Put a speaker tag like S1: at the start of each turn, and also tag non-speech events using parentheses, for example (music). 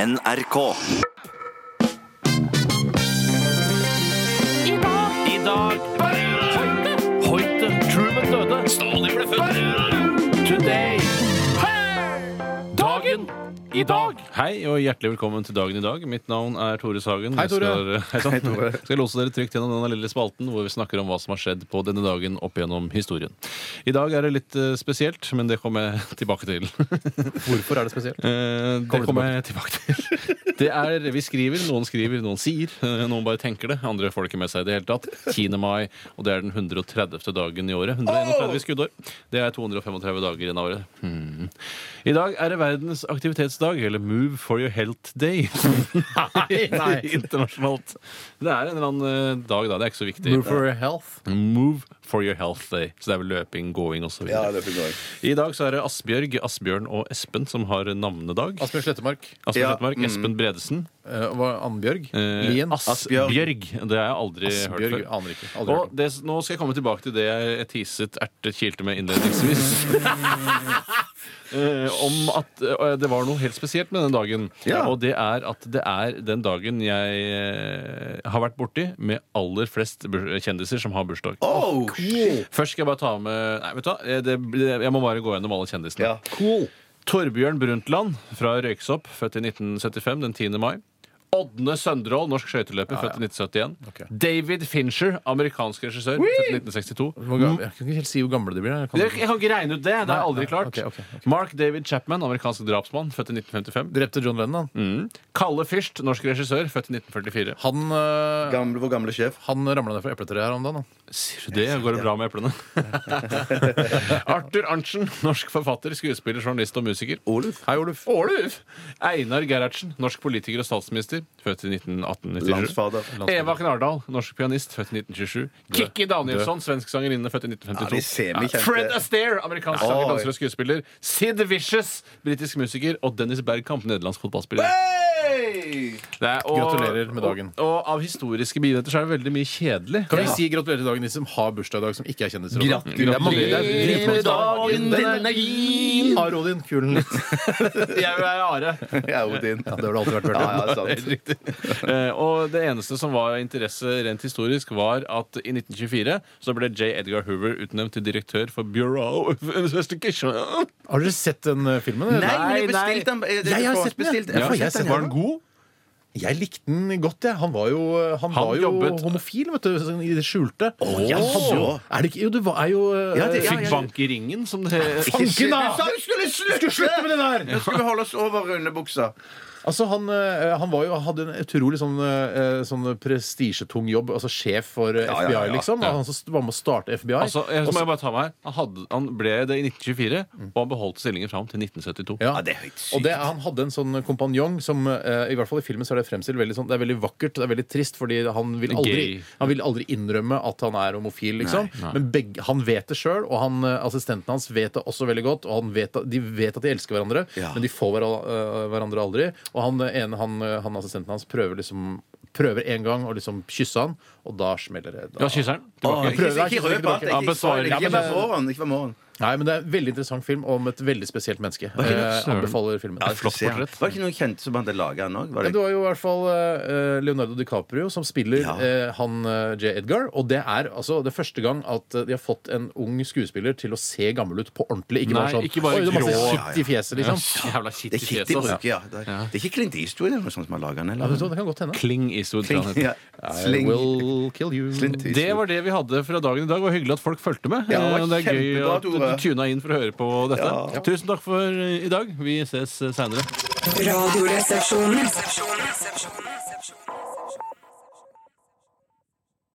S1: NRK.
S2: I dag Hoite Truman døde Stalin ble født Today Dagen i dag
S3: Hei og hjertelig velkommen til dagen i dag. Mitt navn er Tore Sagen.
S4: Hei, Tore.
S3: Jeg skal, hei, Tore. Jeg (laughs) skal lose dere trygt gjennom denne lille spalten hvor vi snakker om hva som har skjedd på denne dagen opp gjennom historien. I dag er det litt eh, spesielt, men det kommer jeg tilbake til.
S4: Hvorfor er det spesielt?
S3: Eh, Det kommer jeg tilbake til. Det er, vi skriver, noen skriver, noen sier. eh, Noen bare tenker det. Andre får det ikke med seg i det hele tatt. 10. mai, og det er den 130. dagen i året. 131 skuddår. Det er 235 dager igjen av året. Hmm. I dag er det verdens aktivitetsdag, eller Move for your health day.
S4: (laughs) (laughs) nei.
S3: Internasjonalt. Det er en eller annen eh, dag, da. Det er ikke så viktig.
S4: Move for health.
S3: Move for your health day. Så det er vel løping, gåing osv.
S5: Ja,
S3: videre
S5: det fikk jeg.
S3: I dag så er det Asbjørg, Asbjørn og Espen som har navnedag.
S4: Asbjørn Slettemark.
S3: Asbjørn
S5: Ja,
S3: Slettemark, Espen Bredesen.
S4: Eh, hva- Annbjørg.
S3: eh,
S4: Lien.
S3: Asbjørg. Det har jeg aldri
S4: Asbjørg.
S3: hørt før.
S4: Aner ikke. Aldri hørt
S3: Og
S4: om.
S3: det, nå skal jeg komme tilbake til det jeg teaset erte kilte med innledningsvis. Eh, om at eh, det var noe helt spesielt med den dagen.
S5: Ja.
S3: Og det er at det er den dagen jeg eh, har vært borti med aller flest bur- kjendiser som har bursdag.
S5: Oh,
S3: Først skal jeg bare ta med Nei, vet du hva? Eh, Det, jeg må bare gå gjennom alle kjendisene.
S5: Ja.
S4: Cool.
S3: Torbjørn Brundtland fra Røyksopp, født i 1975, den 10. mai. Ådne Søndrål, norsk skøyteløper, født i 1971.
S4: Ok.
S3: David Fincher, amerikansk regissør, født i 1962.
S4: Hvor ga- Jeg kan ikke helt si hvor gamle de blir. Jeg kan...
S3: Jeg jeg kan ikke regne ut det! Det har jeg
S4: Nei,
S3: aldri
S4: nei,
S3: klart.
S4: ok, ok, ok.
S3: Mark David Chapman, amerikansk drapsmann, født i 1955.
S4: Drepte John Lennon. han.
S3: Kalle Fyrst, norsk regissør, født i 1944.
S4: Han, eh,
S5: gamle, vår gamle sjef.
S4: han ramla ned fra epletreet her om dagen. han.
S3: Sier du det? Går det bra med eplene?
S4: (laughs)
S3: Arthur Arntzen, norsk forfatter, skuespiller, journalist og musiker.
S5: Oluf.
S4: Hei, Oluf.
S3: Åluf! Einar Gerhardsen, norsk politiker og statsminister, født i 1918-1997.
S5: Landsfader.
S3: Eva Knardal, norsk pianist, født i 1927. Kikki Danielsson, svensk sangerinne, født
S5: Ja,
S3: i
S5: de
S3: 1952.
S5: ser meg kjente.
S3: Fred Astaire, amerikansk sanger,
S5: Oi.
S3: danser og skuespiller. Sid Vicious, britisk musiker. Og Dennis Bergkamp, nederlandsk fotballspiller.
S5: Hey!
S3: Det er- og-
S4: Gratulerer med dagen.
S3: Og, og av historiske begivenheter så er det veldig mye kjedelig.
S4: Kan vi si gratulerer til dagen de som har bursdag i dag, som ikke er kjendiser? og sånn?
S5: Gratulerer
S4: Det er mange- det er
S3: med
S4: dritmange-
S3: dagen, den er
S4: fin! Har Odin kulen (laughs) litt?
S3: Jeg er Are.
S5: Jeg er Odin.
S4: Ja, det har du alltid vært.
S5: Ja,
S4: Bjørte.
S5: ja, sant.
S3: Riktig. Eh, og det eneste som var av interesse rent historisk, var at i 1924 så ble J. Edgar Hoover utnevnt til direktør for Bureau of Investigation.
S4: Har dere sett den eh, filmen? eller?
S5: Nei, men
S3: Nei,
S5: jeg
S3: nei.
S5: bestilte den. eh, det-
S4: Jeg har sett den,
S5: forhåndsbestilt.
S4: jeg. Ja,
S5: får sett
S4: jeg har
S5: den,
S4: sett den.
S5: jeg.
S3: god?
S4: Jeg likte den godt, jeg. Han var jo, eh, han
S3: Han
S4: var jo
S3: jobbet-
S4: homofil, vet du, sånn i det skjulte.
S5: ja,
S4: Han hadde jo,
S5: så.
S4: er det ikke, jo, det var er jo eh,
S5: Ja, det- ja,
S3: Fikk bank i ringen, som det
S5: Ikke si-
S4: Fanken, da!
S5: Du sa du skulle
S4: Skal vi slutte med det der!
S5: Nå skulle vi holde oss over underbuksa.
S4: Altså, han, eh, han var jo, hadde en utrolig sånn, eh, sånn prestisjetung jobb. Altså sjef for eh,
S5: Ja, ja,
S4: FBI,
S5: ja, ja.
S4: liksom. Han som st- var med å starte FBI.
S3: Altså, jeg, så må
S4: Og
S3: jeg bare ta meg her. Han, hadde, han ble det i 1924, og han beholdt stillingen fram til 1972.
S4: Ja.
S5: Ja, det er høyt sykt.
S4: Og det, han hadde en sånn kompanjong som eh, i hvert fall i filmen så er det fremstilt veldig sånn, det er veldig vakkert, det er veldig trist, fordi han vil aldri,
S3: Gay.
S4: han vil aldri innrømme at han er homofil, liksom. Men begge, han vet det sjøl, og han, eh, assistenten hans vet det også veldig godt. Og han vet, at- de vet at de elsker hverandre,
S5: Ja.
S4: men de får hver, eh, hverandre aldri. Og han eh, ene, han, eh, han assistenten hans, prøver liksom Prøver en gang å liksom kysse han, og da smeller det. Da.
S3: Ja, kysser han.
S5: Åh,
S3: Tilbake.
S4: jeg prøver,
S5: ikke
S4: jeg
S5: røp alt.
S3: ikke.
S4: prøver
S5: Ikke
S3: Ja, men-
S5: ikke- ikke med morgen, ikke med morgen.
S4: Nei, men det er en veldig interessant film om et veldig spesielt menneske. Eh,
S3: søren.
S4: anbefaler filmen.
S3: flott
S5: Se han.
S3: portrett.
S5: Var det ikke noen kjente som hadde laga den òg?
S4: Men det var jo i hvert fall eh, Leonardo DiCaprio som spiller
S5: Ja.
S4: eh, han eh, J. Edgar. Og det er altså det er første gang at eh, de har fått en ung skuespiller til å se gammel ut på ordentlig. Ikke
S3: Nei,
S4: bare sånn
S3: ikke bare
S4: Oi, det er masse
S3: grå,
S5: ja,
S4: skitt i fjeset, liksom.
S3: Jævla kitt
S5: Det
S3: i
S5: er Kitty
S3: fjeset. altså.
S5: bruker, ja. Det er, det er ikke Clint Eastwood eller noe sånt som har laga den?
S4: Ja, vet du
S5: Eller?
S4: hva, det kan godt hende.
S3: Kling Eastwood. tror jeg han heter.
S5: (laughs) Ja. Sling.
S4: I will kill you.
S5: Clint Eastwood.
S3: Det var det vi hadde fra dagen i dag. Det var hyggelig at folk fulgte med.
S5: Ja, det var
S3: Eh, det er gøy
S5: kjempebra,
S3: at du
S5: Tore.
S3: tuna inn for å høre på dette. Tusen takk for eh, i dag. Vi ses seinere.
S6: Radioresepsjonen.